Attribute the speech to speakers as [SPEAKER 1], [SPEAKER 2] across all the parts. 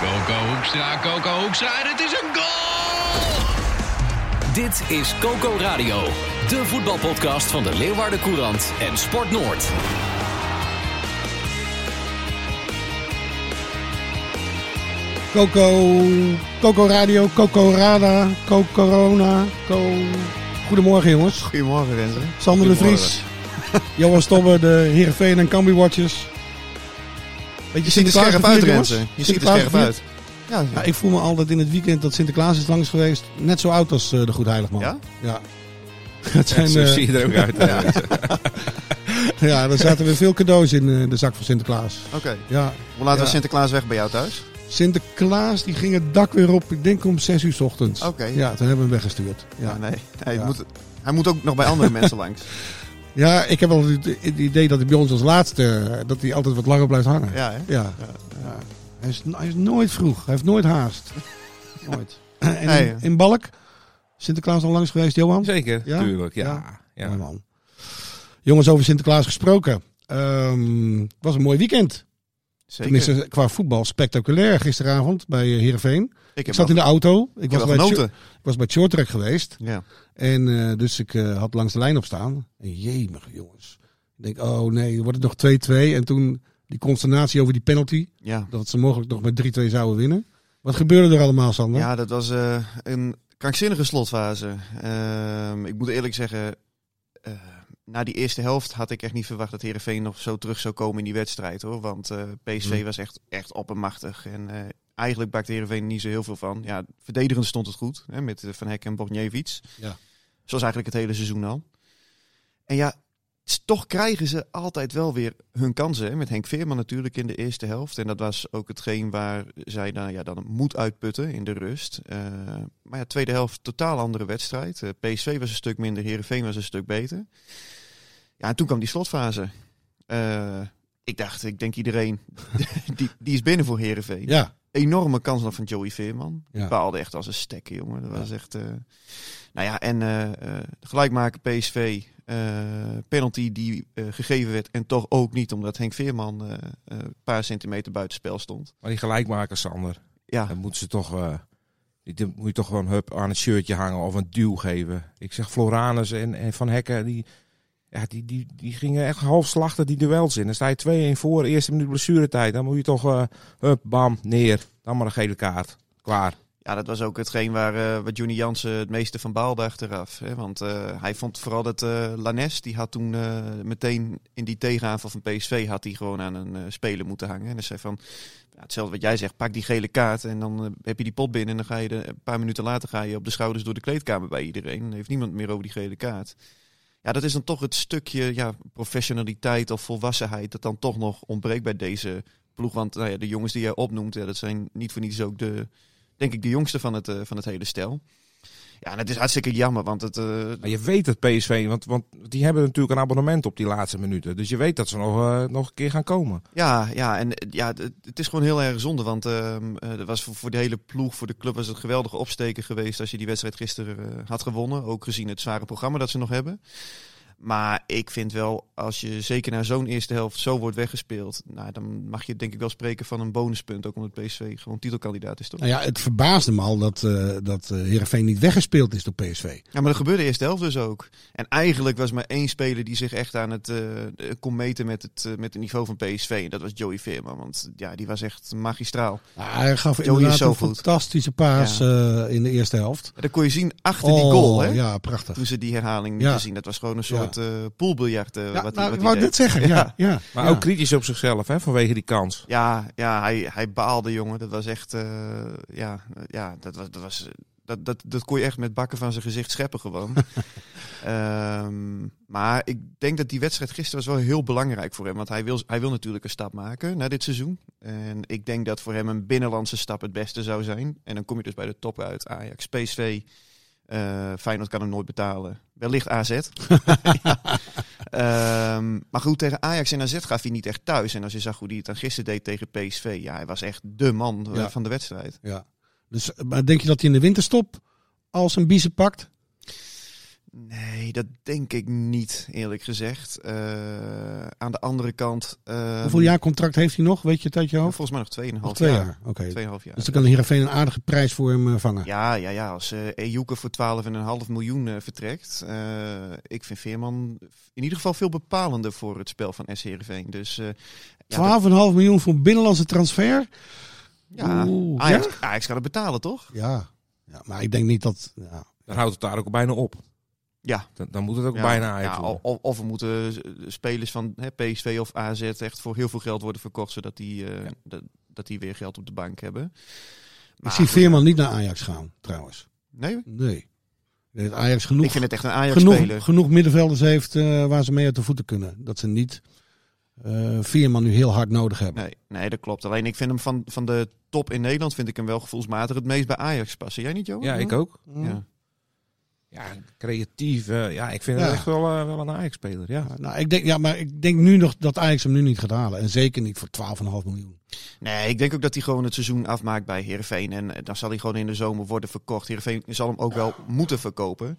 [SPEAKER 1] Coco Hoekstra, Coco Hoekstra, en het is een goal!
[SPEAKER 2] Dit is Coco Radio, de voetbalpodcast van de Leeuwarden Courant en Sport Noord.
[SPEAKER 3] Coco, Coco Radio, Coco Rada, Coco Corona, Co... Goedemorgen jongens.
[SPEAKER 4] Goedemorgen Renze.
[SPEAKER 3] Sander de Vries, Johan Stobbe, de Heerenveen en Cambi Watchers. Weet
[SPEAKER 4] Je ziet er
[SPEAKER 3] Sinterklaas
[SPEAKER 4] scherp
[SPEAKER 3] gevierd,
[SPEAKER 4] uit
[SPEAKER 3] jongens?
[SPEAKER 4] Renze. Je ziet er
[SPEAKER 3] Sinterklaas
[SPEAKER 4] scherp
[SPEAKER 3] gevierd?
[SPEAKER 4] uit. Ja,
[SPEAKER 3] Ja, ik voel me altijd in het weekend dat Sinterklaas is langs geweest net zo oud als eh, de Goedheiligman.
[SPEAKER 4] Ja?
[SPEAKER 3] Ja. Het zijn,
[SPEAKER 4] zo
[SPEAKER 3] eh,
[SPEAKER 4] zie je er ook uit. ja.
[SPEAKER 3] ja, er zaten weer veel cadeaus in eh, de zak van Sinterklaas.
[SPEAKER 4] Oké,
[SPEAKER 3] Ja,
[SPEAKER 4] hoe laten
[SPEAKER 3] Ja.
[SPEAKER 4] we Sinterklaas weg bij jou thuis?
[SPEAKER 3] Sinterklaas die ging het dak weer op, ik denk om 6 uur 's ochtends.
[SPEAKER 4] Oké.
[SPEAKER 3] Ja, toen hebben we hem weggestuurd. Ja.
[SPEAKER 4] Ah, nee, nee het
[SPEAKER 3] Ja.
[SPEAKER 4] Moet, hij moet ook nog bij andere mensen langs.
[SPEAKER 3] Ja, ik heb al het het idee dat hij bij ons als laatste, eh, dat hij altijd wat langer blijft hangen.
[SPEAKER 4] Ja, hè?
[SPEAKER 3] Ja. Ja. Hij, is, hij is nooit vroeg. Hij heeft nooit haast. nooit. En
[SPEAKER 4] Nee,
[SPEAKER 3] in,
[SPEAKER 4] hè?
[SPEAKER 3] in Balk, Sinterklaas al langs geweest, Johan?
[SPEAKER 5] Zeker,
[SPEAKER 3] Ja?
[SPEAKER 5] tuurlijk. Ja.
[SPEAKER 3] Ja.
[SPEAKER 5] Ja.
[SPEAKER 3] Mooi man. Jongens, over Sinterklaas gesproken. Ehm, het was een mooi weekend.
[SPEAKER 4] Zeker.
[SPEAKER 3] Tenminste, qua voetbal spectaculair gisteravond bij eh, Heerenveen.
[SPEAKER 4] ik
[SPEAKER 3] Ik
[SPEAKER 4] heb
[SPEAKER 3] zat
[SPEAKER 4] wel,
[SPEAKER 3] in de auto. Ik
[SPEAKER 4] ik heb
[SPEAKER 3] was
[SPEAKER 4] wel
[SPEAKER 3] bij, het short-
[SPEAKER 4] genoten.
[SPEAKER 3] ik was bij het short track geweest.
[SPEAKER 4] Ja.
[SPEAKER 3] En eh, dus ik eh, had langs de lijn op staan. En jemig, jongens. Ik denk, oh nee, wordt het nog 2-2. En toen die consternatie over die penalty.
[SPEAKER 4] Ja.
[SPEAKER 3] Dat ze mogelijk nog met 3-2 zouden winnen. Wat gebeurde er allemaal, Sander?
[SPEAKER 4] ja, dat was eh, een krankzinnige slotfase. Ehm, ik moet eerlijk zeggen, eh, na die eerste helft had ik echt niet verwacht dat Herenveen nog zo terug zou komen in die wedstrijd. hoor. Want eh, PSV
[SPEAKER 3] Hm.
[SPEAKER 4] was echt, echt oppermachtig. En eh, eigenlijk bakte Herenveen niet zo heel veel van. Ja, verdedigend stond het goed hè, met eh, Van Hek en Bogniewicz.
[SPEAKER 3] Ja.
[SPEAKER 4] Zoals eigenlijk het hele seizoen al. En ja, s- toch krijgen ze altijd wel weer hun kansen. Hè? Met Henk Veerman natuurlijk in de eerste helft. En dat was ook hetgeen waar zij dan, ja, dan moet uitputten in de rust. Eh, maar ja, tweede helft, totaal andere wedstrijd. Eh, PSV was een stuk minder, Herenveen was een stuk beter. Ja, en toen kwam die slotfase. Eh, ik dacht, ik denk iedereen, die, die is binnen voor Herenveen.
[SPEAKER 3] Ja.
[SPEAKER 4] Enorme kans nog van Joey Veerman.
[SPEAKER 3] Ja.
[SPEAKER 4] Baalde echt als een stekker, jongen. Dat was echt... eh, nou ja, en eh, eh, gelijk maken PSV. eh, penalty die eh, gegeven werd en toch ook niet, omdat Henk Veerman eh, eh, een paar centimeter buitenspel stond.
[SPEAKER 5] Maar die gelijkmaker, Sander,
[SPEAKER 4] Ja,
[SPEAKER 5] dan moeten ze toch, eh, die- die moet je toch gewoon hup aan het shirtje hangen of een duw geven. Ik zeg Floranus en, en Van Hekken, die, ja, die, die, die gingen echt half slachten die duels in. Dan sta je 2-1 voor, eerste minuut blessuretijd. Dan moet je toch, eh, hup, bam, neer. Dan maar een gele kaart. Klaar.
[SPEAKER 4] ja dat was ook hetgeen waar, eh waar Johnny Jansen het meeste van baalde achteraf. Hè? Want eh, hij vond vooral dat eh, Lanes, die had toen eh, meteen in die tegenaanval van PSV, had hij gewoon aan een eh, speler moeten hangen. En dan zei van, ja, hetzelfde wat jij zegt, pak die gele kaart en dan eh, heb je die pot binnen. En dan ga je de, een paar minuten later ga je op de schouders door de kleedkamer bij iedereen. Dan heeft niemand meer over die gele kaart. Ja, dat is dan toch het stukje ja, professionaliteit of volwassenheid dat dan toch nog ontbreekt bij deze ploeg. Want nou ja, de jongens die jij opnoemt, ja, dat zijn niet voor niets ook de, denk ik, de jongste van het, eh, van het hele stel. Ja, en het is hartstikke jammer, want het... eh,
[SPEAKER 5] Maar je weet dat PSV, want, want die hebben natuurlijk een abonnement op die laatste minuten. Dus je weet dat ze nog, eh, nog een keer gaan komen.
[SPEAKER 4] Ja, ja, en eh, ja, het, het is gewoon heel erg zonde. Want ehm, eh, er was voor, voor de hele ploeg, voor de club, was het een geweldige opsteken geweest als je die wedstrijd gisteren eh, had gewonnen. Ook gezien het zware programma dat ze nog hebben. Maar ik vind wel, als je zeker na zo'n eerste helft zo wordt weggespeeld, nou, dan mag je denk ik wel spreken van een bonuspunt. Ook omdat PSV gewoon titelkandidaat is, toch?
[SPEAKER 3] Nou ja, het verbaasde me al dat, eh dat eh, Heerenveen niet weggespeeld is door PSV.
[SPEAKER 4] Ja, maar dat gebeurde eerst de helft dus ook. En eigenlijk was maar één speler die zich echt aan het eh kon meten met het, eh, met het niveau van PSV. En dat was Joey Veerman, want ja, die was echt magistraal.
[SPEAKER 3] Ah, hij gaf
[SPEAKER 4] Joey
[SPEAKER 3] inderdaad
[SPEAKER 4] is zo
[SPEAKER 3] een
[SPEAKER 4] goed.
[SPEAKER 3] fantastische paas eh, in de eerste helft.
[SPEAKER 4] En dat kon je zien achter die goal, hè?
[SPEAKER 3] Oh, Ja, prachtig.
[SPEAKER 4] Toen ze die herhaling
[SPEAKER 3] Ja.
[SPEAKER 4] lieten zien, dat was gewoon een soort eh poolbiljart. eh,
[SPEAKER 3] Ja,
[SPEAKER 4] wat die,
[SPEAKER 3] nou,
[SPEAKER 4] wat
[SPEAKER 3] ik
[SPEAKER 4] die
[SPEAKER 3] wou
[SPEAKER 4] deed.
[SPEAKER 3] net zeggen. Ja, ja.
[SPEAKER 5] Maar
[SPEAKER 3] Ja.
[SPEAKER 5] ook kritisch op zichzelf, hè, vanwege die kans.
[SPEAKER 4] Ja, ja hij, hij baalde, jongen. Dat was echt. eh, ja, eh, ja dat, was, dat was Dat, dat, dat kon je echt met bakken van zijn gezicht scheppen gewoon. Ehm, maar ik denk dat die wedstrijd gisteren was wel heel belangrijk voor hem. Want hij wil, hij wil natuurlijk een stap maken naar dit seizoen. En ik denk dat voor hem een binnenlandse stap het beste zou zijn. En dan kom je dus bij de top uit. Ajax, PSV, eh Feyenoord kan hem nooit betalen. Wellicht AZ. Ja. Ehm, maar goed, tegen Ajax en AZ gaf hij niet echt thuis. En als je zag hoe hij het dan gisteren deed tegen PSV. Ja, hij was echt de man eh,
[SPEAKER 3] Ja.
[SPEAKER 4] van de wedstrijd.
[SPEAKER 3] Ja. Dus, eh, maar denk je dat hij in de winterstop als een biezen pakt?
[SPEAKER 4] Nee, dat denk ik niet, eerlijk gezegd. Eh, aan de andere kant. eh,
[SPEAKER 3] Hoeveel jaar contract heeft hij nog? Weet je het uit je hoofd?
[SPEAKER 4] Volgens mij nog 2,5
[SPEAKER 3] Nog twee jaar.
[SPEAKER 4] jaar.
[SPEAKER 3] Oké.
[SPEAKER 4] 2,5 jaar.
[SPEAKER 3] Dus dan kan Heerenveen een aardige prijs voor hem eh, vangen.
[SPEAKER 4] Ja, ja, ja. Als eh Ejuke voor 12,5 miljoen eh, vertrekt. eh, ik vind Veerman in ieder geval veel bepalender voor het spel van S. Heerenveen. Dus eh, ja, dat-
[SPEAKER 3] 12,5 miljoen voor een binnenlandse transfer?
[SPEAKER 4] ja,
[SPEAKER 3] Oeh,
[SPEAKER 4] Ajax,
[SPEAKER 3] ja?
[SPEAKER 4] Ajax gaat het betalen, toch?
[SPEAKER 3] Ja. ja. Maar ik denk niet dat... Ja.
[SPEAKER 5] Dan houdt het daar ook bijna op.
[SPEAKER 4] Ja.
[SPEAKER 5] Dan, dan moet het ook
[SPEAKER 4] Ja,
[SPEAKER 5] bijna Ajax
[SPEAKER 4] ja,
[SPEAKER 5] worden.
[SPEAKER 4] of, of we moeten eh, spelers van hè, PSV of AZ echt voor heel veel geld worden verkocht, zodat die, eh, dat, dat die weer geld op de bank hebben.
[SPEAKER 3] Ik
[SPEAKER 4] Maar
[SPEAKER 3] zie
[SPEAKER 4] goed,
[SPEAKER 3] Veerman niet naar Ajax gaan, trouwens.
[SPEAKER 4] Nee,
[SPEAKER 3] Nee. Ik denk dat Ajax genoeg,
[SPEAKER 4] ik vind het echt een Ajax-speler.
[SPEAKER 3] genoeg, genoeg middenvelders heeft eh, waar ze mee uit de voeten kunnen. Dat ze niet eh Veerman nu heel hard nodig hebben.
[SPEAKER 4] Nee, nee, dat klopt. Alleen ik vind hem van, van de top in Nederland vind ik hem wel gevoelsmatig het meest bij Ajax passen. Jij niet,
[SPEAKER 3] Oh,
[SPEAKER 4] Johan?
[SPEAKER 5] Ja, ik ook.
[SPEAKER 4] Ja.
[SPEAKER 5] Ja, creatief. eh, ja, ik vind
[SPEAKER 3] Ja.
[SPEAKER 5] het echt wel, eh, wel een Ajax-speler. Ja.
[SPEAKER 3] Nou, ik denk, ja, maar ik denk nu nog dat Ajax hem nu niet gaat halen. En zeker niet voor 12,5 miljoen.
[SPEAKER 4] Nee, ik denk ook dat hij gewoon het seizoen afmaakt bij Heerenveen. En eh, dan zal hij gewoon in de zomer worden verkocht. Heerenveen zal hem ook wel moeten verkopen.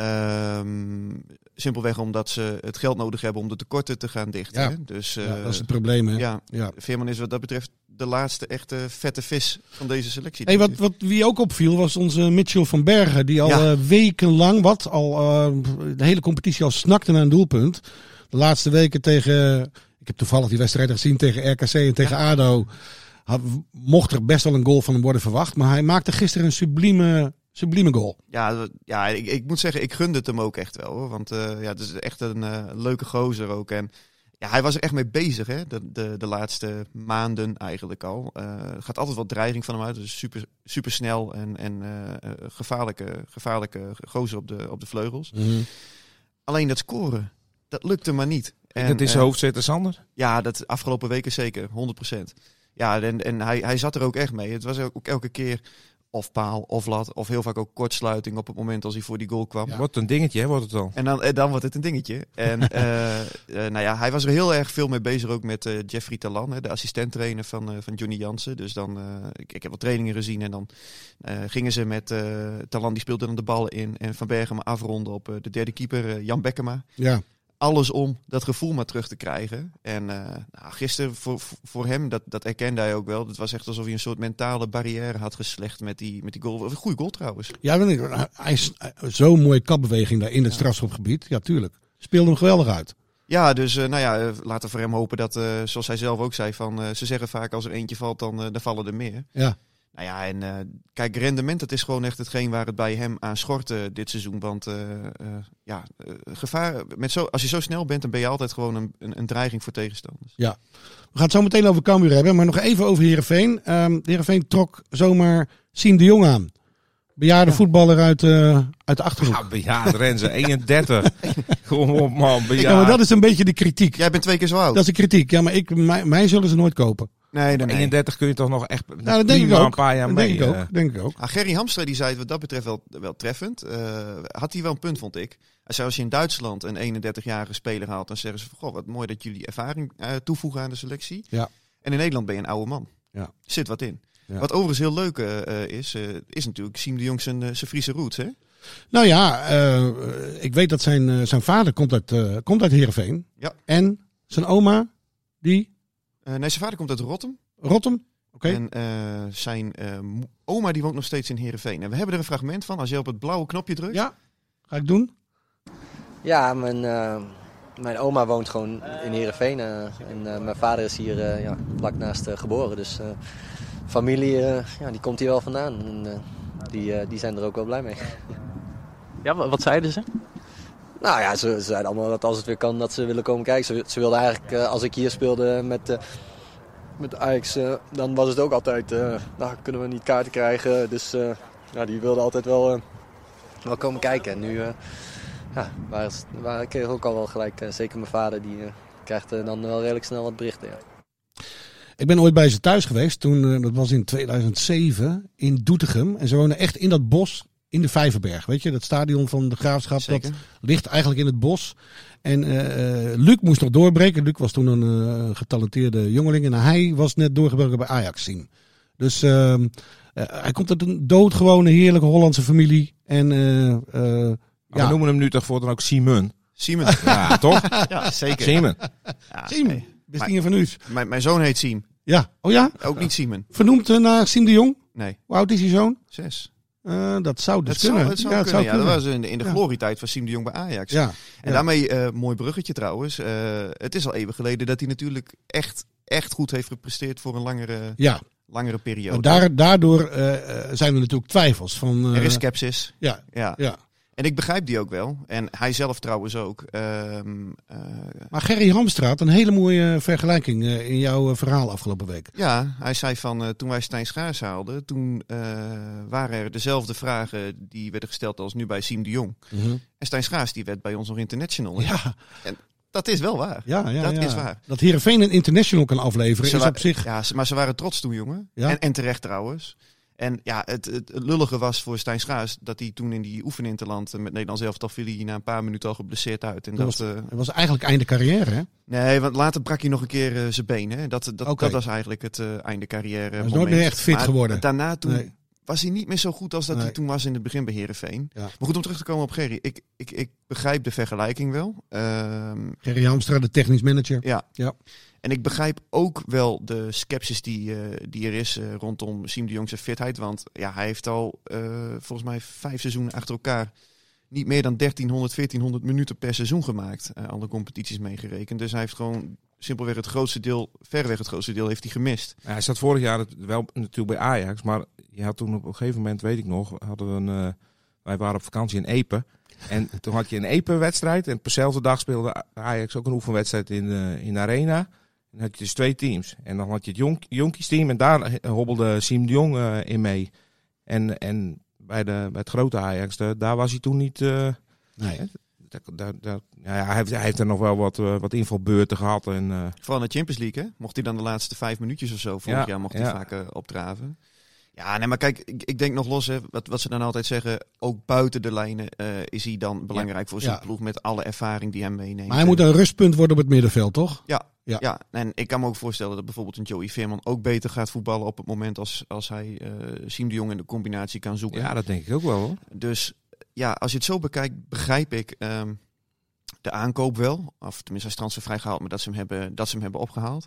[SPEAKER 4] Ehm, simpelweg omdat ze het geld nodig hebben om de tekorten te gaan dichten.
[SPEAKER 3] Ja.
[SPEAKER 4] hè. Dus eh,
[SPEAKER 3] ja, dat is het probleem, hè? Ja.
[SPEAKER 4] ja, Veerman is wat dat betreft de laatste echte vette vis van deze selectie.
[SPEAKER 3] Hey, wat, wat wie ook opviel was onze Mitchell van Bergen. Die al
[SPEAKER 4] Ja.
[SPEAKER 3] eh, wekenlang, wat al eh, de hele competitie al snakte naar een doelpunt. De laatste weken tegen, ik heb toevallig die wedstrijd gezien tegen RKC en tegen ADO. Had, mocht er best wel een goal van hem worden verwacht. Maar hij maakte gisteren een sublieme, sublieme goal.
[SPEAKER 4] Ja, dat- ja ik, ik moet zeggen, ik gunde het hem ook echt wel. Hoor. Want eh, ja, het is echt een eh, leuke gozer ook. En ja, hij was er echt mee bezig hè, de, de, de laatste maanden eigenlijk al. Eh, Er gaat altijd wat dreiging van hem uit. Dus super, super snel en, en eh, eh, gevaarlijke, gevaarlijke gozer op de, op de vleugels. Alleen dat scoren, dat lukte maar niet. En,
[SPEAKER 5] dat is
[SPEAKER 4] eh,
[SPEAKER 5] zijn hoofd zetten, Sander.
[SPEAKER 4] ja, dat afgelopen weken zeker, 100%. Ja, en, en hij, hij zat er ook echt mee. Het was ook elke keer of paal, of lat, of heel vaak ook kortsluiting op het moment als hij voor die goal kwam.
[SPEAKER 5] Wat een dingetje, hè, wordt het al.
[SPEAKER 4] En dan, en dan wordt het een dingetje. En eh, eh, nou ja, hij was er heel erg veel mee bezig ook met eh, Jeffrey Talan, hè, de assistenttrainer van, eh, van Johnny Jansen. Dus dan, eh, ik, ik heb wat trainingen gezien en dan eh, gingen ze met eh, Talan, die speelde dan de bal in. En Van Bergen maar afronden op eh, de derde keeper, eh, Jan Bekkema
[SPEAKER 3] Ja,
[SPEAKER 4] alles om dat gevoel maar terug te krijgen. En eh, nou, gisteren voor, voor hem, dat, dat erkende hij ook wel. Het was echt alsof hij een soort mentale barrière had geslecht met die, met die goal. Een goede goal trouwens.
[SPEAKER 3] ja weet ik, hij is eh, zo'n mooie kapbeweging daar in het strafschopgebied. Ja, tuurlijk. Speelde hem geweldig uit.
[SPEAKER 4] Ja, dus eh, nou ja, eh, laten we voor hem hopen dat, eh, zoals hij zelf ook zei, van, eh, ze zeggen vaak als er eentje valt, dan, eh, dan vallen er meer.
[SPEAKER 3] Ja.
[SPEAKER 4] Nou ja, en eh, kijk, rendement, dat is gewoon echt hetgeen waar het bij hem aan schort eh, dit seizoen. Want eh, eh, ja, eh, gevaar, met zo, als je zo snel bent, dan ben je altijd gewoon een, een, een dreiging voor tegenstanders.
[SPEAKER 3] We gaan het zo meteen over Cambuur hebben, maar nog even over Heerenveen. Ehm Heerenveen trok zomaar Siem de Jong aan. Bejaarde voetballer uit, eh, uit de Achterhoek. Ja,
[SPEAKER 5] Nou, Ja, bejaard Renze, 31. Kom op, man, bejaard.
[SPEAKER 3] maar dat is een beetje de kritiek.
[SPEAKER 4] Jij bent twee keer zo oud.
[SPEAKER 3] Dat is de kritiek. Ja, maar ik, mij, mij zullen ze nooit kopen.
[SPEAKER 4] Nee, dan
[SPEAKER 5] 31 kun je toch nog echt
[SPEAKER 3] Nou, dat denk ik
[SPEAKER 5] prima
[SPEAKER 3] ook.
[SPEAKER 5] een paar jaar
[SPEAKER 3] dat
[SPEAKER 5] mee.
[SPEAKER 3] denk ik ook.
[SPEAKER 5] eh.
[SPEAKER 3] denk ik ook.
[SPEAKER 4] Ah, Gerry Hamstra die zei het wat dat betreft wel, wel treffend. Eh, had hij wel een punt, vond ik. Hij zei als je in Duitsland een 31-jarige speler haalt, dan zeggen ze van, goh, wat mooi dat jullie ervaring eh, toevoegen aan de selectie.
[SPEAKER 3] Ja.
[SPEAKER 4] En in Nederland ben je een oude man.
[SPEAKER 3] Ja.
[SPEAKER 4] Zit wat in.
[SPEAKER 3] Ja.
[SPEAKER 4] Wat overigens heel leuk eh, eh, is, eh, is natuurlijk Siem de Jong zijn, eh, zijn Friese roots. Hè?
[SPEAKER 3] Nou ja, eh, ik weet dat zijn, eh, zijn vader komt uit, eh komt uit Heerenveen.
[SPEAKER 4] Ja.
[SPEAKER 3] En zijn oma, die,
[SPEAKER 4] Eh, nee, zijn vader komt uit Rotterdam.
[SPEAKER 3] Rotterdam. Oké.
[SPEAKER 4] En eh, zijn eh, mo- oma die woont nog steeds in Heerenveen. En we hebben er een fragment van. Als je op het blauwe knopje drukt.
[SPEAKER 3] Ja, ga ik doen.
[SPEAKER 6] Ja, mijn, eh, mijn oma woont gewoon in Heerenveen. eh, en eh, mijn vader is hier eh, ja, vlak naast eh, geboren. Dus eh, familie eh, ja, die komt hier wel vandaan. En, eh, die, eh, die zijn er ook wel blij mee.
[SPEAKER 7] Ja, wa- wat zeiden ze?
[SPEAKER 6] Nou ja, ze, ze zeiden allemaal dat als het weer kan dat ze willen komen kijken. Ze, ze wilden eigenlijk, eh, als ik hier speelde met, eh, met Ajax, eh, dan was het ook altijd... eh, nou, kunnen we niet kaarten krijgen, dus eh, ja, die wilde altijd wel, eh, wel komen kijken. En nu eh, ja, waren, ze- waren, kreeg ook al wel gelijk. eh, zeker mijn vader, die eh, krijgt eh, dan wel redelijk snel wat berichten. Ja.
[SPEAKER 3] Ik ben ooit bij ze thuis geweest. Toen, eh, dat was in 2007 in Doetinchem. En ze wonen echt in dat bos in de Vijverberg. Weet je, dat stadion van de Graafschap.
[SPEAKER 4] Zeker.
[SPEAKER 3] Dat ligt eigenlijk in het bos. En eh, eh, Luc moest nog doorbreken. Luc was toen een eh, getalenteerde jongeling. En hij was net doorgebroken bij Ajax zien. Dus ehm, eh, hij komt uit een doodgewone, heerlijke Hollandse familie. En eh, eh,
[SPEAKER 5] Maar
[SPEAKER 3] Ja.
[SPEAKER 5] We noemen hem nu toch voor dan ook Simon.
[SPEAKER 4] Simon.
[SPEAKER 5] Ja, toch?
[SPEAKER 4] ja, zeker.
[SPEAKER 5] Simon.
[SPEAKER 4] Ja,
[SPEAKER 3] Siem,
[SPEAKER 4] Ah, nee.
[SPEAKER 3] Bestien van Uus.
[SPEAKER 4] Mijn, mijn zoon heet Siem.
[SPEAKER 3] Ja, oh ja?
[SPEAKER 4] Ook niet Simon.
[SPEAKER 3] Vernoemd eh, naar Siem de Jong.
[SPEAKER 4] Nee,
[SPEAKER 3] Hoe oud is die zoon?
[SPEAKER 4] zes.
[SPEAKER 3] Eh, dat zou dus
[SPEAKER 4] Dat
[SPEAKER 3] kunnen.
[SPEAKER 4] zou, dat zou
[SPEAKER 3] ja,
[SPEAKER 4] kunnen. ja,
[SPEAKER 3] kunnen.
[SPEAKER 4] dat was in de, in de
[SPEAKER 3] Ja.
[SPEAKER 4] glorietijd van Siem de Jong bij Ajax.
[SPEAKER 3] Ja.
[SPEAKER 4] En daarmee, eh, mooi bruggetje trouwens. eh, het is al even geleden dat hij natuurlijk echt, echt goed heeft gepresteerd voor een langere,
[SPEAKER 3] Ja,
[SPEAKER 4] langere
[SPEAKER 3] maar
[SPEAKER 4] periode.
[SPEAKER 3] daar, daardoor eh, eh, zijn er natuurlijk twijfels. Van, eh,
[SPEAKER 4] er is sceptisch.
[SPEAKER 3] ja,
[SPEAKER 4] Ja.
[SPEAKER 3] ja.
[SPEAKER 4] En ik begrijp die ook wel. En hij zelf trouwens ook. Ehm, eh,
[SPEAKER 3] Maar Gerry Hamstraat, een hele mooie vergelijking eh, in jouw eh, verhaal afgelopen week.
[SPEAKER 4] Ja, hij zei van eh, toen wij Stijn Schaars haalden, toen eh, waren er dezelfde vragen die werden gesteld als nu bij Siem de Jong. En Stijn Schaars die werd bij ons nog international.
[SPEAKER 3] Ja,
[SPEAKER 4] Dat is wel waar.
[SPEAKER 3] ja, ja,
[SPEAKER 4] Dat
[SPEAKER 3] ja.
[SPEAKER 4] is waar.
[SPEAKER 3] Dat Heerenveen een international kan afleveren
[SPEAKER 4] Ze
[SPEAKER 3] is
[SPEAKER 4] wa-
[SPEAKER 3] op zich...
[SPEAKER 4] Ja, ze- maar ze waren trots toen, jongen.
[SPEAKER 3] Ja.
[SPEAKER 4] En, en terecht trouwens. En ja, het, het lullige was voor Stijn Schaars dat hij toen in die oefeninterland eh, met Nederland zelf viel hij na een paar minuten al geblesseerd uit. En
[SPEAKER 3] Dat
[SPEAKER 4] dat,
[SPEAKER 3] was-
[SPEAKER 4] eh,
[SPEAKER 3] Het was eigenlijk einde carrière, hè?
[SPEAKER 4] nee, want later brak hij nog een keer eh, zijn been. Hè. Dat, dat,
[SPEAKER 3] Oké.
[SPEAKER 4] dat was eigenlijk het eh, einde carrière.
[SPEAKER 3] Hij is nooit meer echt fit geworden.
[SPEAKER 4] Daarna toen
[SPEAKER 3] Nee.
[SPEAKER 4] was hij niet meer zo goed als dat
[SPEAKER 3] Nee.
[SPEAKER 4] hij toen was in het begin bij Herenveen.
[SPEAKER 3] Ja.
[SPEAKER 4] Maar goed, om terug te komen op Gerry. Ik, ik, ik begrijp de vergelijking wel. Ehm,
[SPEAKER 3] Gerry Hamstra, de technisch manager.
[SPEAKER 4] ja.
[SPEAKER 3] Ja.
[SPEAKER 4] En ik begrijp ook wel de scepticis die, eh, die er is eh, rondom Siem de Jong zijn fitheid. Want ja, hij heeft al eh, volgens mij vijf seizoenen achter elkaar niet meer dan 1300, 1400 minuten per seizoen gemaakt. eh, alle competities meegerekend. Dus hij heeft gewoon simpelweg het grootste deel, verreweg het grootste deel, heeft hij gemist.
[SPEAKER 5] Ja, Hij zat vorig jaar het- wel natuurlijk bij Ajax, maar je had toen op een gegeven moment, weet ik nog, hadden we een, eh, wij waren op vakantie in Epe. En toen had je een Epe-wedstrijd en op dezelfde dag speelde A- Ajax ook een oefenwedstrijd in, eh, in de Arena. En dan had je dus twee teams. En dan had je het Jonk Jonkies-team en daar eh, hobbelde Siem de Jong eh, in mee. En, en bij, de, bij het grote Ajax, eh, daar was hij toen niet... eh,
[SPEAKER 3] Nee.
[SPEAKER 5] daar, daar, daar- ja, hij, heeft, hij heeft er nog wel wat, eh, wat invalbeurten gehad en... eh,
[SPEAKER 4] Vooral in de Champions League, hè? Mocht hij dan de laatste vijf minuutjes of zo, vorig
[SPEAKER 5] Ja,
[SPEAKER 4] jaar mocht hij
[SPEAKER 5] ja.
[SPEAKER 4] vaak eh, opdraven. Ja, nee, maar kijk, ik, ik denk nog los, hè, wat, wat ze dan altijd zeggen, ook buiten de lijnen eh, is hij dan belangrijk voor zijn
[SPEAKER 3] Ja.
[SPEAKER 4] ploeg met alle ervaring die hij meeneemt.
[SPEAKER 3] Maar hij moet
[SPEAKER 4] En-
[SPEAKER 3] een rustpunt worden op het middenveld, toch?
[SPEAKER 4] Ja,
[SPEAKER 3] Ja.
[SPEAKER 4] ja. en ik kan me ook voorstellen dat bijvoorbeeld een Joey Veerman ook beter gaat voetballen op het moment als, als hij eh Siem de Jong in de combinatie kan zoeken.
[SPEAKER 5] ja, dat denk ik ook wel hoor.
[SPEAKER 4] Dus ja, als je het zo bekijkt, begrijp ik ehm, de aankoop wel. Of tenminste, hij is transfervrij gehaald, maar dat ze hem hebben, dat ze hem hebben opgehaald.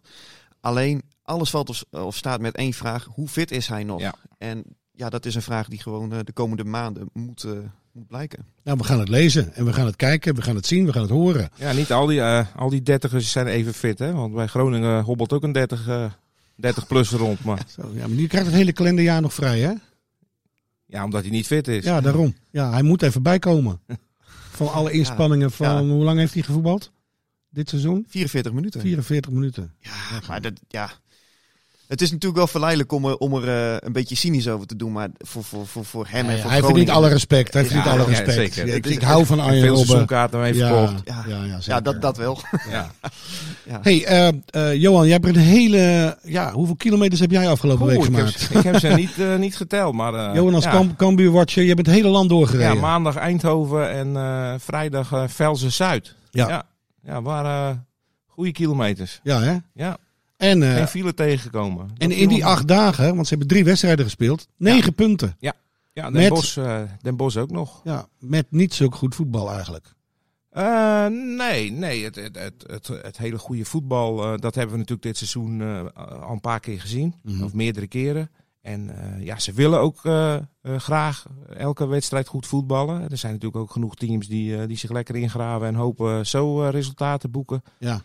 [SPEAKER 4] Alleen, alles valt of, of staat met één vraag. Hoe fit is hij nog?
[SPEAKER 5] Ja.
[SPEAKER 4] En ja, dat is een vraag die gewoon eh, de komende maanden moet, eh, moet blijken.
[SPEAKER 3] Nou, we gaan het lezen en we gaan het kijken, we gaan het zien, we gaan het horen.
[SPEAKER 5] Ja, niet al die, eh al die dertigers zijn even fit, hè? Want bij Groningen hobbelt ook een 30, eh 30 plus rond. Maar
[SPEAKER 3] Zo, ja, maar nu krijgt het hele kalenderjaar nog vrij, hè?
[SPEAKER 5] ja, omdat hij niet fit is.
[SPEAKER 3] Ja, daarom. Ja, hij moet even bijkomen. Van alle inspanningen van... Hoe lang heeft hij gevoetbald? Dit seizoen?
[SPEAKER 4] 44 minuten.
[SPEAKER 3] 44 minuten.
[SPEAKER 4] Ja, maar dat, ja. Het is natuurlijk wel verleidelijk om er, om er eh, een beetje cynisch over te doen, maar voor, voor, voor, voor hem en
[SPEAKER 3] hij
[SPEAKER 4] voor
[SPEAKER 3] verdient
[SPEAKER 4] Groningen-
[SPEAKER 3] alle respect. Hij
[SPEAKER 4] Ja,
[SPEAKER 3] verdient alle
[SPEAKER 5] ja,
[SPEAKER 3] respect.
[SPEAKER 5] zeker.
[SPEAKER 3] Ik,
[SPEAKER 4] Het is-
[SPEAKER 3] ik hou van Arjen
[SPEAKER 5] Veel
[SPEAKER 3] Robben.
[SPEAKER 5] seizoenkaarten heeft verkocht.
[SPEAKER 3] Ja, ja, ja, zeker.
[SPEAKER 4] Ja, dat, dat wel.
[SPEAKER 5] Ja.
[SPEAKER 3] Hey, eh, eh, Johan, jij hebt een hele... Ja, hoeveel kilometers heb jij afgelopen
[SPEAKER 5] Oeh,
[SPEAKER 3] week
[SPEAKER 5] ik, heb,
[SPEAKER 3] gemaakt?
[SPEAKER 5] ze- ik heb ze niet, eh, niet geteld, maar... eh,
[SPEAKER 3] Johan als
[SPEAKER 5] ja.
[SPEAKER 3] Kam- Cambuur-watcher, je bent het hele land
[SPEAKER 5] Ja,
[SPEAKER 3] doorgereden.
[SPEAKER 5] maandag Eindhoven en eh, vrijdag eh Velzen-Zuid.
[SPEAKER 3] Ja.
[SPEAKER 5] Ja, ja waren eh, goede kilometers.
[SPEAKER 3] Ja, hè?
[SPEAKER 5] Ja,
[SPEAKER 3] En, eh,
[SPEAKER 5] geen file tegengekomen. Dat
[SPEAKER 3] en
[SPEAKER 5] viel
[SPEAKER 3] in die
[SPEAKER 5] me-
[SPEAKER 3] acht dagen, want ze hebben drie wedstrijden gespeeld, negen punten.
[SPEAKER 5] Ja,
[SPEAKER 3] met-
[SPEAKER 5] Den, Bos Den Bosch ook nog.
[SPEAKER 3] Ja, met niet zulk goed voetbal eigenlijk.
[SPEAKER 5] Eh, nee, nee. Het, het, het, het, het hele goede voetbal, eh, dat hebben we natuurlijk dit seizoen eh, al een paar keer gezien.
[SPEAKER 3] Mhm.
[SPEAKER 5] Of meerdere keren. En eh, ja, ze willen ook eh, eh, graag elke wedstrijd goed voetballen. Er zijn natuurlijk ook genoeg teams die, eh, die zich lekker ingraven en hopen zo eh, resultaten te boeken.
[SPEAKER 3] Ja.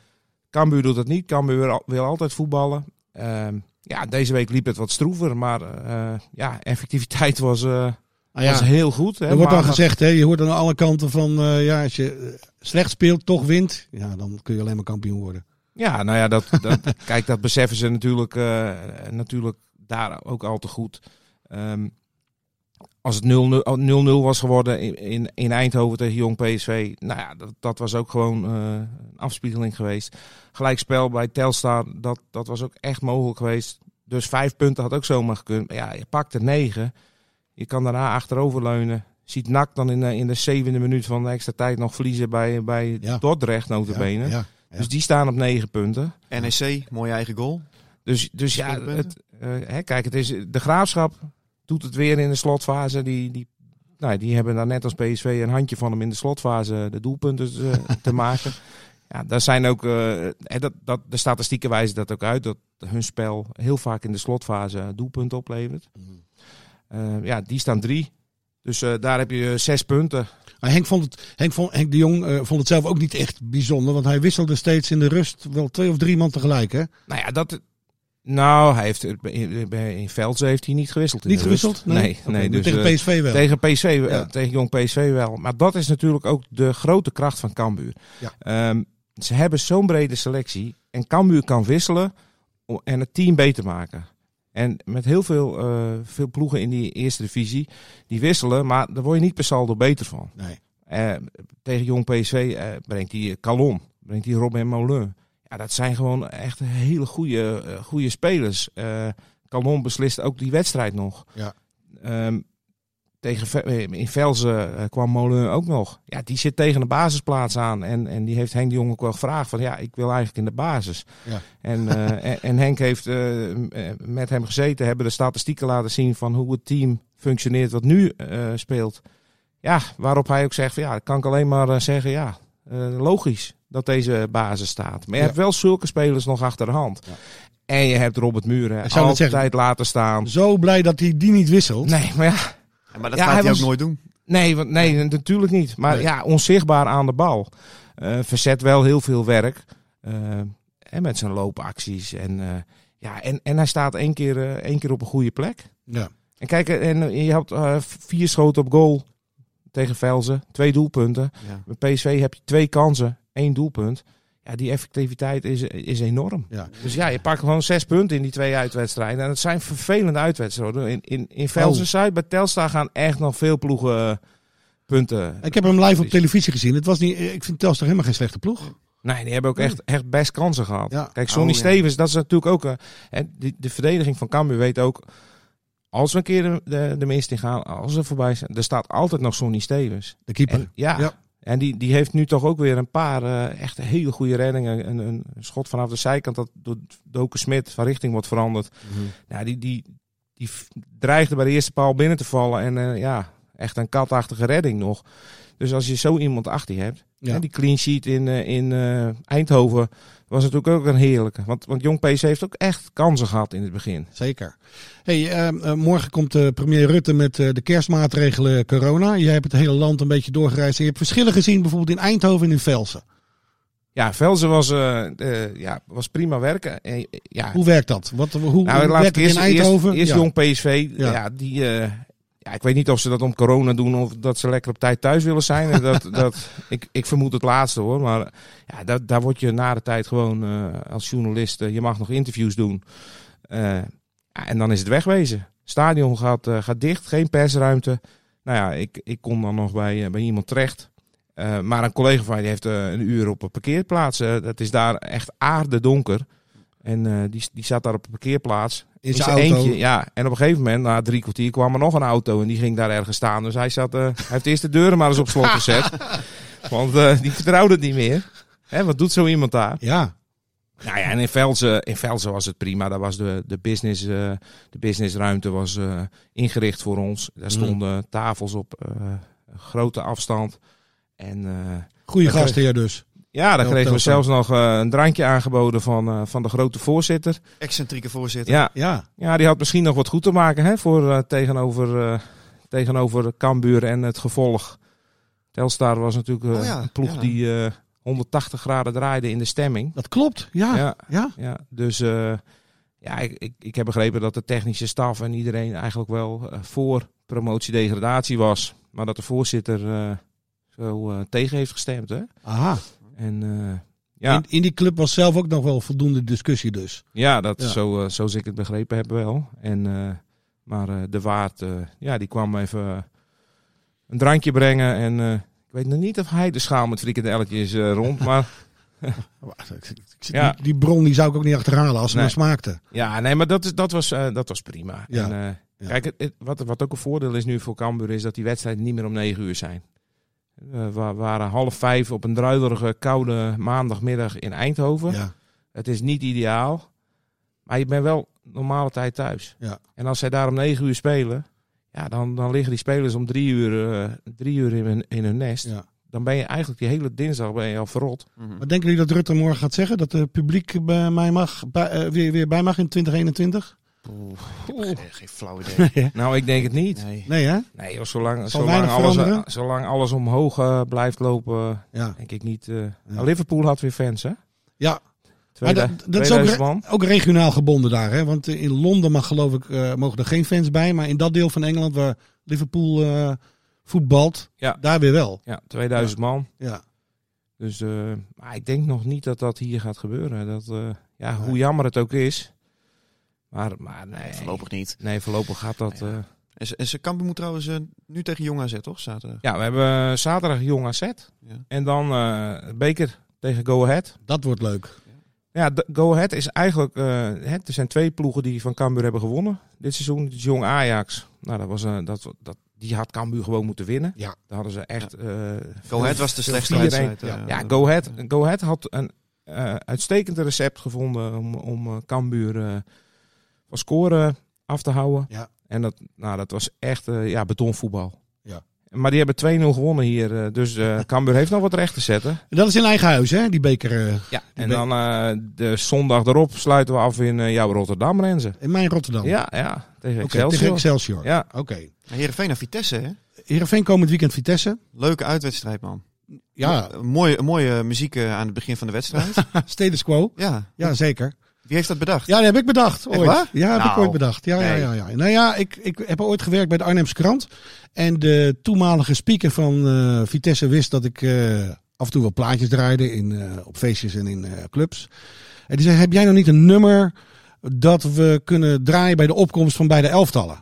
[SPEAKER 5] Cambuur doet dat niet. Cambuur wil al- wil altijd voetballen. Ehm, ja, deze week liep het wat stroever, maar eh, ja, effectiviteit was, eh,
[SPEAKER 3] Nou ja,
[SPEAKER 5] was heel goed. Hè.
[SPEAKER 3] er wordt dan
[SPEAKER 5] Maandag-
[SPEAKER 3] gezegd, hè, je hoort aan alle kanten van, eh, ja, als je eh, slecht speelt, toch wint. Ja, dan kun je alleen maar kampioen worden.
[SPEAKER 5] Ja, nou ja, dat, dat, kijk, dat beseffen ze natuurlijk, eh, natuurlijk daar ook al te goed. Ehm, als het 0-0 0-0 was geworden in, in, in Eindhoven tegen Jong PSV, nou ja, dat, dat was ook gewoon eh, een afspiegeling geweest. Gelijkspel bij Telstar, dat, dat was ook echt mogelijk geweest. Dus vijf punten had ook zomaar gekund. Maar ja, je pakt er negen. Je kan daarna achteroverleunen. Ziet Nak dan in de, in de zevende minuut van de extra tijd nog verliezen bij, bij
[SPEAKER 3] Ja.
[SPEAKER 5] Dordrecht, notabene.
[SPEAKER 3] Ja, ja.
[SPEAKER 5] Dus die staan op negen punten.
[SPEAKER 4] NEC, E mooie eigen goal.
[SPEAKER 5] Dus, dus ja,
[SPEAKER 4] Spannende
[SPEAKER 5] het, eh, hè, kijk, het is, de graafschap doet het weer in de slotfase. Die, die, nou, die hebben daar net als PSV een handje van hem in de slotfase de doelpunten eh, te maken. Ja, daar zijn ook, eh, hè, dat, dat, de statistieken wijzen dat ook uit, dat hun spel heel vaak in de slotfase doelpunten oplevert. Eh, ja, die staan drie. Dus eh, daar heb je eh, zes punten.
[SPEAKER 3] Maar Henk, vond het, Henk, vond, Henk de Jong eh, vond het zelf ook niet echt bijzonder. Want hij wisselde steeds in de rust wel twee of drie man tegelijk. Hè?
[SPEAKER 5] Nou ja, dat. Nou, hij heeft, in, in Veldse heeft hij niet gewisseld. in
[SPEAKER 3] Niet
[SPEAKER 5] de rust.
[SPEAKER 3] gewisseld?
[SPEAKER 5] Nee, nee.
[SPEAKER 3] Oké, maar
[SPEAKER 5] dus,
[SPEAKER 3] tegen
[SPEAKER 5] eh,
[SPEAKER 3] PSV wel.
[SPEAKER 5] Tegen PC, wel, eh,
[SPEAKER 3] Ja.
[SPEAKER 5] tegen jong PSV wel. Maar dat is natuurlijk ook de grote kracht van Cambuur.
[SPEAKER 3] Ja.
[SPEAKER 5] Ehm, ze hebben zo'n brede selectie en Cambuur kan wisselen om- en het team beter maken. En met heel veel, eh, veel ploegen in die eerste divisie, die wisselen, maar daar word je niet per saldo beter van.
[SPEAKER 3] Nee.
[SPEAKER 5] Eh, tegen jong PSV eh, brengt hij Calon, brengt hij Robin Moulin. Ja, dat zijn gewoon echt hele goede, eh, goede spelers. Eh Calon beslist ook die wedstrijd nog.
[SPEAKER 3] Ja.
[SPEAKER 5] Ehm, tegen, Ve- eh, in Velzen eh, kwam Molen ook nog. Ja, die zit tegen de basisplaats aan. En, en die heeft Henk de Jong ook wel gevraagd van... ja, ik wil eigenlijk in de basis.
[SPEAKER 3] Ja.
[SPEAKER 5] En, eh, en, en Henk heeft eh, m- eh, met hem gezeten... hebben de statistieken laten zien van hoe het team functioneert... wat nu eh, speelt. Ja, waarop hij ook zegt van... ja, dan kan ik alleen maar eh, zeggen ja, eh, logisch dat deze basis staat. Maar je
[SPEAKER 3] Ja.
[SPEAKER 5] hebt wel zulke spelers nog achter de hand.
[SPEAKER 3] Ja.
[SPEAKER 5] En je hebt Robert Muren
[SPEAKER 3] Ik zou net
[SPEAKER 5] altijd
[SPEAKER 3] zeggen-
[SPEAKER 5] laten staan.
[SPEAKER 3] Zo blij dat hij die niet wisselt.
[SPEAKER 5] Nee, maar ja...
[SPEAKER 4] Ja, maar dat
[SPEAKER 5] Ja,
[SPEAKER 4] gaat
[SPEAKER 5] hij
[SPEAKER 4] hij,
[SPEAKER 5] was-
[SPEAKER 4] ook nooit doen.
[SPEAKER 5] Nee, want, nee natuurlijk niet. Maar
[SPEAKER 3] Nee.
[SPEAKER 5] ja, onzichtbaar aan de bal. Eh, verzet wel heel veel werk. Eh, en met zijn loopacties. En, eh, ja, en, en hij staat één keer, eh, één keer op een goede plek.
[SPEAKER 3] Ja.
[SPEAKER 5] En kijk, eh, en je had eh, vier schoten op goal tegen Velzen. Twee doelpunten.
[SPEAKER 4] Ja.
[SPEAKER 5] Bij PSV heb je twee kansen, één doelpunt. Ja, die effectiviteit is, is enorm.
[SPEAKER 3] Ja.
[SPEAKER 5] Dus ja, je pakt gewoon zes punten in die twee uitwedstrijden. En dat zijn vervelende uitwedstrijden. In, in, in Velsen-Zuid, bij Telstar gaan echt nog veel ploegen eh, punten.
[SPEAKER 3] Ik heb hem live op televisie gezien. Het was niet, eh, ik vind Telstar helemaal geen slechte ploeg.
[SPEAKER 5] Nee, die hebben ook echt, echt best kansen gehad.
[SPEAKER 3] Ja.
[SPEAKER 5] Kijk, Sonny
[SPEAKER 4] Oh, ja.
[SPEAKER 5] Stevens, dat is natuurlijk ook... eh, hè, de, de verdediging van Cambuur weet ook... Als we een keer de, de, de mist in gaan, als we voorbij zijn... Er staat altijd nog Sonny Stevens.
[SPEAKER 3] De keeper.
[SPEAKER 5] En, ja.
[SPEAKER 3] Ja.
[SPEAKER 5] En die, die heeft nu toch ook weer een paar eh, echt hele goede reddingen. Een, een schot vanaf de zijkant dat door Doken Smit van richting wordt veranderd. Nou, die, die, die f- dreigde bij de eerste paal binnen te vallen. En eh, ja, echt een katachtige redding nog. Dus als je zo iemand achter je hebt.
[SPEAKER 3] Ja.
[SPEAKER 5] Hè, die clean sheet in, eh, in eh, Eindhoven was natuurlijk ook een heerlijke. Want, want Jong PC heeft ook echt kansen gehad in het begin.
[SPEAKER 3] Zeker. Hey, ehm, eh, morgen komt eh, premier Rutte met eh, de kerstmaatregelen eh, corona. Jij hebt het hele land een beetje doorgereisd. En je hebt verschillen gezien, bijvoorbeeld in Eindhoven en in Velsen.
[SPEAKER 5] Ja, Velzen was, eh, eh, ja, was prima werken. Eh, ja,
[SPEAKER 3] Hoe werkt dat? Wat, hoe hoe
[SPEAKER 5] Nou, laat
[SPEAKER 3] werkt
[SPEAKER 5] ik
[SPEAKER 3] het
[SPEAKER 5] eerst,
[SPEAKER 3] in Eindhoven?
[SPEAKER 5] Eerst, eerst
[SPEAKER 3] Ja.
[SPEAKER 5] jong PSV.
[SPEAKER 3] Ja.
[SPEAKER 5] Ja, die, eh, ja, ik weet niet of ze dat om corona doen of dat ze lekker op tijd thuis willen zijn. En dat, dat, ik, ik vermoed het laatste hoor. Maar eh, ja, dat, daar word je na de tijd gewoon eh, als journalist. eh, je mag nog interviews doen. Eh, ja, en dan is het wegwezen. Stadion gaat, eh, gaat dicht, geen persruimte. Nou ja, ik, ik kom dan nog bij, eh, bij iemand terecht. Eh, maar een collega van mij die heeft eh, een uur op een parkeerplaats. eh, dat is daar echt aardedonker. En eh, die, die zat daar op een parkeerplaats.
[SPEAKER 3] In zijn auto.
[SPEAKER 5] ja. En op een gegeven moment, na drie kwartier, kwam er nog een auto. En die ging daar ergens staan. Dus hij, zat, eh, hij heeft eerst de deuren maar eens op slot gezet. want eh, die vertrouwde het niet meer. Hè, wat doet zo iemand daar?
[SPEAKER 3] Ja,
[SPEAKER 5] Nou ja, en in Velzen, in Velzen was het prima. Daar was de, de, business, eh, de businessruimte was, eh, ingericht voor ons. Daar
[SPEAKER 4] Mm.
[SPEAKER 5] stonden tafels op eh, grote afstand. En eh,
[SPEAKER 3] goede
[SPEAKER 5] Oké.
[SPEAKER 3] gastheer dus.
[SPEAKER 5] ja, daar
[SPEAKER 3] Heel
[SPEAKER 5] kregen we
[SPEAKER 3] Telstar.
[SPEAKER 5] zelfs nog eh, een drankje aangeboden van, eh, van de grote voorzitter.
[SPEAKER 4] Excentrieke voorzitter.
[SPEAKER 5] Ja,
[SPEAKER 3] Ja,
[SPEAKER 5] ja, die had misschien nog wat goed te maken hè, voor, eh, tegenover, eh, tegenover Cambuur en het gevolg. Telstar was natuurlijk eh,
[SPEAKER 4] Oh ja,
[SPEAKER 5] een ploeg
[SPEAKER 4] ja.
[SPEAKER 5] die eh, 180 graden draaide in de stemming.
[SPEAKER 3] dat klopt.
[SPEAKER 4] Ah.
[SPEAKER 3] Ja, ja.
[SPEAKER 5] Ja, ja, dus eh, ja, ik, ik, ik heb begrepen dat de technische staf en iedereen eigenlijk wel eh, voor promotiedegradatie was. Maar dat de voorzitter eh, zo eh, tegen heeft gestemd. Hè?
[SPEAKER 3] Aha.
[SPEAKER 5] En eh, ja,
[SPEAKER 3] In, in die club was zelf ook nog wel voldoende discussie dus.
[SPEAKER 5] ja, dat,
[SPEAKER 3] Ja.
[SPEAKER 5] Zo, eh, zoals ik het begrepen heb wel. En eh, Maar eh, de waard, eh, ja, die kwam even eh, een drankje brengen. En eh, ik weet nog niet of hij de schaal met frikandelletjes is eh, rond. Maar
[SPEAKER 3] Wacht, ik- ik- ik-
[SPEAKER 5] Ja.
[SPEAKER 3] die, die bron die zou ik ook niet achterhalen als ze
[SPEAKER 5] Nee.
[SPEAKER 3] maar smaakte.
[SPEAKER 5] ja, nee, maar dat, is, dat, was, eh, dat was prima.
[SPEAKER 3] Ja.
[SPEAKER 5] En, eh,
[SPEAKER 3] Ja.
[SPEAKER 5] Kijk, het- het- wat, wat ook een voordeel is nu voor Cambuur is dat die wedstrijden niet meer om negen uur zijn. Eh, we waren half vijf op een druilerige, koude maandagmiddag in Eindhoven.
[SPEAKER 3] Ja.
[SPEAKER 5] Het is niet ideaal. Maar je bent wel normale tijd thuis.
[SPEAKER 3] Ja.
[SPEAKER 5] En als zij daar om negen uur spelen. Ja, dan, dan liggen die spelers om drie uur, eh, drie uur in, hun, in hun nest.
[SPEAKER 3] Ja.
[SPEAKER 5] Dan ben je eigenlijk die hele dinsdag ben je al verrot.
[SPEAKER 4] Mhm.
[SPEAKER 3] Maar denken jullie dat Rutte morgen gaat zeggen dat het publiek bij mij mag, bij, eh, weer, weer bij mag in 2021?
[SPEAKER 4] Ik heb Geen flauw idee.
[SPEAKER 5] Nou, ik denk het niet.
[SPEAKER 4] Nee.
[SPEAKER 3] Nee hè?
[SPEAKER 5] Nee, joh, zolang,
[SPEAKER 3] Zal
[SPEAKER 5] zolang,
[SPEAKER 3] weinig
[SPEAKER 5] alles, eh,
[SPEAKER 3] veranderen.
[SPEAKER 5] zolang alles omhoog eh, blijft lopen,
[SPEAKER 3] Ja.
[SPEAKER 5] denk ik niet. eh.
[SPEAKER 3] Ja.
[SPEAKER 5] Liverpool had weer fans, hè?
[SPEAKER 3] Ja, Maar
[SPEAKER 5] Tweede,
[SPEAKER 3] dat- dat is ook
[SPEAKER 5] 2000 man.
[SPEAKER 3] Ook regionaal gebonden daar, hè? Want eh, in Londen mag geloof ik, eh, mogen er geen fans bij. Maar in dat deel van Engeland waar Liverpool eh, voetbalt,
[SPEAKER 5] Ja.
[SPEAKER 3] daar weer wel.
[SPEAKER 5] Ja, 2000 man.
[SPEAKER 3] Ja.
[SPEAKER 5] Dus eh, maar ik denk nog niet dat dat hier gaat gebeuren. Dat, eh, ja,
[SPEAKER 3] Nee.
[SPEAKER 5] Hoe jammer het ook is. Maar, maar nee,
[SPEAKER 4] Voorlopig niet.
[SPEAKER 5] nee, voorlopig gaat dat. eh,
[SPEAKER 4] En, ze- en ze Cambuur moet trouwens eh, nu tegen Jong AZ, toch? Zaterdag.
[SPEAKER 5] ja, we hebben eh, zaterdag Jong AZ.
[SPEAKER 4] Ja.
[SPEAKER 5] En dan eh, Beker tegen Go Ahead.
[SPEAKER 3] Dat wordt leuk.
[SPEAKER 5] Ja, de- Go Ahead is eigenlijk... eh, hè, er zijn twee ploegen die van Cambuur hebben gewonnen dit seizoen. Het is Jong Ajax. Nou, dat was, een dat, dat, die had Cambuur gewoon moeten winnen.
[SPEAKER 3] Ja.
[SPEAKER 5] Daar hadden ze echt... eh,
[SPEAKER 4] Go Ahead was de slechtste
[SPEAKER 5] 4-1.
[SPEAKER 4] wedstrijd. eh,
[SPEAKER 5] Ja, Go Ahead, Go Ahead had een eh uitstekend recept gevonden om, om eh, Cambuur eh, van scoren af te houden.
[SPEAKER 3] Ja.
[SPEAKER 5] En dat, nou, dat was echt eh, ja, betonvoetbal.
[SPEAKER 3] Ja.
[SPEAKER 5] Maar die hebben 2-0 gewonnen hier. eh, dus eh Cambuur heeft nog wat recht te zetten.
[SPEAKER 3] En dat is in eigen huis, hè? Die beker. eh,
[SPEAKER 5] Ja,
[SPEAKER 3] Die ben-
[SPEAKER 5] en dan eh, de zondag erop sluiten we af in eh, jouw Rotterdam Renzen.
[SPEAKER 3] in mijn Rotterdam.
[SPEAKER 5] Ja, ja, tegen
[SPEAKER 3] Oké,
[SPEAKER 5] Excelsior.
[SPEAKER 3] tegen Excelsior.
[SPEAKER 5] Ja,
[SPEAKER 3] Oké.
[SPEAKER 4] Heerenveen naar Vitesse, hè?
[SPEAKER 3] Heerenveen komend weekend Vitesse.
[SPEAKER 4] Leuke uitwedstrijd, man.
[SPEAKER 3] Ja,
[SPEAKER 4] Een Mooie, een mooie muziek eh, aan het begin van de wedstrijd.
[SPEAKER 3] status quo.
[SPEAKER 4] ja.
[SPEAKER 3] Ja, zeker.
[SPEAKER 4] Wie heeft dat bedacht?
[SPEAKER 3] Ja, dat heb ik bedacht. Ooit.
[SPEAKER 4] Echt waar?
[SPEAKER 3] Ja, heb ik
[SPEAKER 4] Nou,
[SPEAKER 3] ooit bedacht. Ja,
[SPEAKER 4] nee.
[SPEAKER 3] ja, ja, ja. Nou ja, ik, ik heb ooit gewerkt bij de Arnhemse krant. En de toenmalige speaker van eh, Vitesse wist dat ik eh, af en toe wel plaatjes draaide in, eh, op feestjes en in eh, clubs. En die zei, heb jij nog niet een nummer dat we kunnen draaien bij de opkomst van beide elftallen?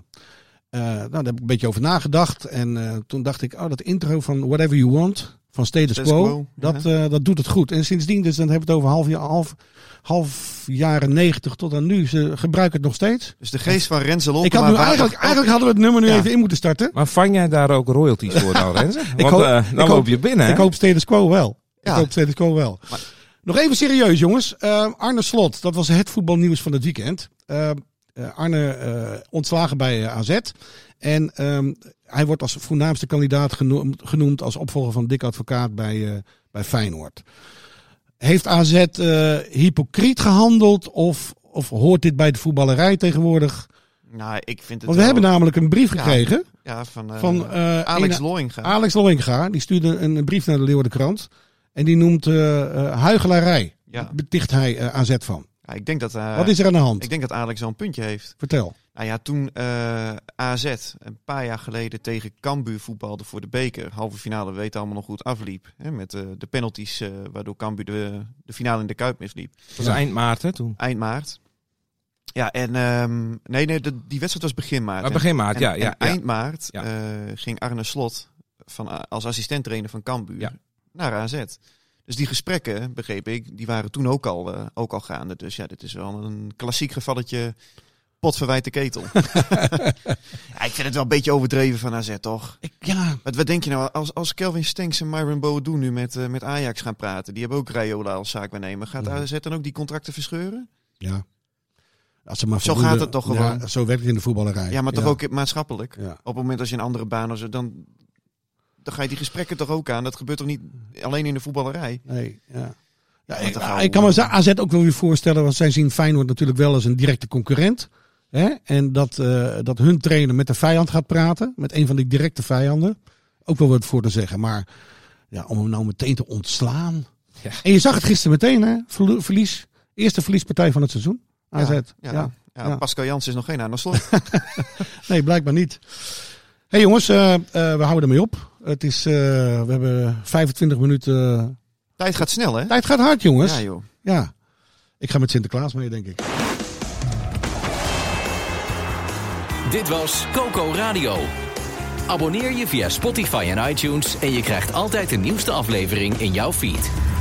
[SPEAKER 3] Eh, nou, daar heb ik een beetje over nagedacht. En eh, toen dacht ik, oh, dat intro van Whatever You Want, van Status
[SPEAKER 4] Status
[SPEAKER 3] Quo,
[SPEAKER 4] Quo, ja.
[SPEAKER 3] dat, eh, dat doet het goed. En sindsdien, dus dan hebben we het over half, jaar- half, half jaren 90 tot aan nu. Ze gebruiken het nog steeds.
[SPEAKER 4] Dus de geest van Renzel
[SPEAKER 3] ik had nu eigenlijk, eigenlijk hadden we het nummer nu
[SPEAKER 4] Ja.
[SPEAKER 3] even in moeten starten.
[SPEAKER 5] maar vang jij daar ook royalties voor dan, Renzen? Want
[SPEAKER 3] hoop-
[SPEAKER 5] eh,
[SPEAKER 3] ik
[SPEAKER 5] dan
[SPEAKER 3] hoop-
[SPEAKER 5] loop je binnen, hè?
[SPEAKER 3] Ik hoop status quo wel.
[SPEAKER 4] Ja.
[SPEAKER 3] Ik hoop status quo wel. Nog even serieus, jongens. Eh, Arne Slot, dat was het voetbalnieuws van het weekend. Eh, eh, Arne eh, ontslagen bij eh, AZ. En ehm, hij wordt als voornaamste kandidaat genoemd, genoemd als opvolger van Dick Advocaat bij, eh, bij Feyenoord. Heeft AZ eh, hypocriet gehandeld of, of hoort dit bij de voetballerij tegenwoordig?
[SPEAKER 4] Nou, ik vind het
[SPEAKER 3] Want we
[SPEAKER 4] wel-
[SPEAKER 3] hebben namelijk een brief
[SPEAKER 4] Ja.
[SPEAKER 3] gekregen
[SPEAKER 4] ja, van, eh,
[SPEAKER 3] van eh,
[SPEAKER 4] Alex
[SPEAKER 3] een-
[SPEAKER 4] Loinga.
[SPEAKER 3] Alex Loinga, die stuurde een een brief naar de Leeuwarden Krant. En die noemt eh, eh, huichelarij.
[SPEAKER 4] Ja.
[SPEAKER 3] Beticht hij eh, AZ van.
[SPEAKER 4] Ja, ik, denk dat, eh,
[SPEAKER 3] Wat is er aan de hand?
[SPEAKER 4] ik denk dat Alex wel een puntje heeft.
[SPEAKER 3] Vertel.
[SPEAKER 4] Nou ja, toen eh, AZ een paar jaar geleden tegen Cambuur voetbalde voor de beker. Halve finale, we weten allemaal nog goed, afliep. Hè, met eh, de penalties eh, waardoor Cambuur de, de finale in de Kuip misliep.
[SPEAKER 5] Dat was eind maart, hè, toen.
[SPEAKER 4] Eind maart. Ja, en... ehm, nee, nee, de- die wedstrijd was begin maart.
[SPEAKER 5] Maar
[SPEAKER 4] En-
[SPEAKER 5] begin maart,
[SPEAKER 4] En,
[SPEAKER 5] ja.
[SPEAKER 4] en
[SPEAKER 5] ja, ja.
[SPEAKER 4] eind maart
[SPEAKER 5] Ja.
[SPEAKER 4] eh, ging Arne Slot van, A- als assistent trainer van Cambuur
[SPEAKER 5] Ja.
[SPEAKER 4] naar AZ. Dus die gesprekken, begreep ik, die waren toen ook al, eh, ook al gaande. Dus ja, dit is wel een klassiek gevalletje potverwijte ketel. ja, ik vind het wel een beetje overdreven van AZ, toch?
[SPEAKER 3] Ik, ja,
[SPEAKER 4] Wat, wat denk je nou, als, als Kelvin Stenks en Myron Boadu nu met, eh, met Ajax gaan praten... die hebben ook Rayola als zaakwaarnemer. Gaat
[SPEAKER 3] Mhm.
[SPEAKER 4] AZ dan ook die contracten verscheuren?
[SPEAKER 3] ja. Als ze maar
[SPEAKER 4] Zo
[SPEAKER 3] voldoende-
[SPEAKER 4] gaat het toch gewoon?
[SPEAKER 3] Ja, zo werkt het in de voetballerij.
[SPEAKER 4] Ja, maar toch ook maatschappelijk?
[SPEAKER 3] Ja.
[SPEAKER 4] Op het moment als je een andere baan of zo, dan, dan ga je die gesprekken toch ook aan. Dat gebeurt toch niet alleen in de voetballerij?
[SPEAKER 3] Nee, ja. Ja,
[SPEAKER 4] Wat
[SPEAKER 3] ik, nou,
[SPEAKER 4] een gauw,
[SPEAKER 3] ik kan me
[SPEAKER 4] eh.
[SPEAKER 3] za- AZ ook wel weer voorstellen, want zij zien Feyenoord natuurlijk wel als een directe concurrent. Hè? En dat, eh, dat hun trainer met de vijand gaat praten, met een van die directe vijanden. Ook wel wat voor te zeggen, maar ja, om hem nou meteen te ontslaan.
[SPEAKER 5] Ja.
[SPEAKER 3] En je zag het gisteren meteen, hè? Verlo- Verlies. Eerste verliespartij van het seizoen. AZ. Ja,
[SPEAKER 4] Ja, ja.
[SPEAKER 3] ja.
[SPEAKER 4] Pascal Jans is nog geen aan de slot.
[SPEAKER 3] Nee, blijkbaar niet. hey jongens, eh, eh, we houden ermee op. Het is, eh, we hebben 25 minuten. eh,
[SPEAKER 4] Tijd gaat snel, hè?
[SPEAKER 3] tijd gaat hard, jongens.
[SPEAKER 4] Ja, joh.
[SPEAKER 3] Ja. Ik ga met Sinterklaas mee, denk ik.
[SPEAKER 2] Dit was Coco Radio. Abonneer je via Spotify en iTunes en je krijgt altijd de nieuwste aflevering in jouw feed.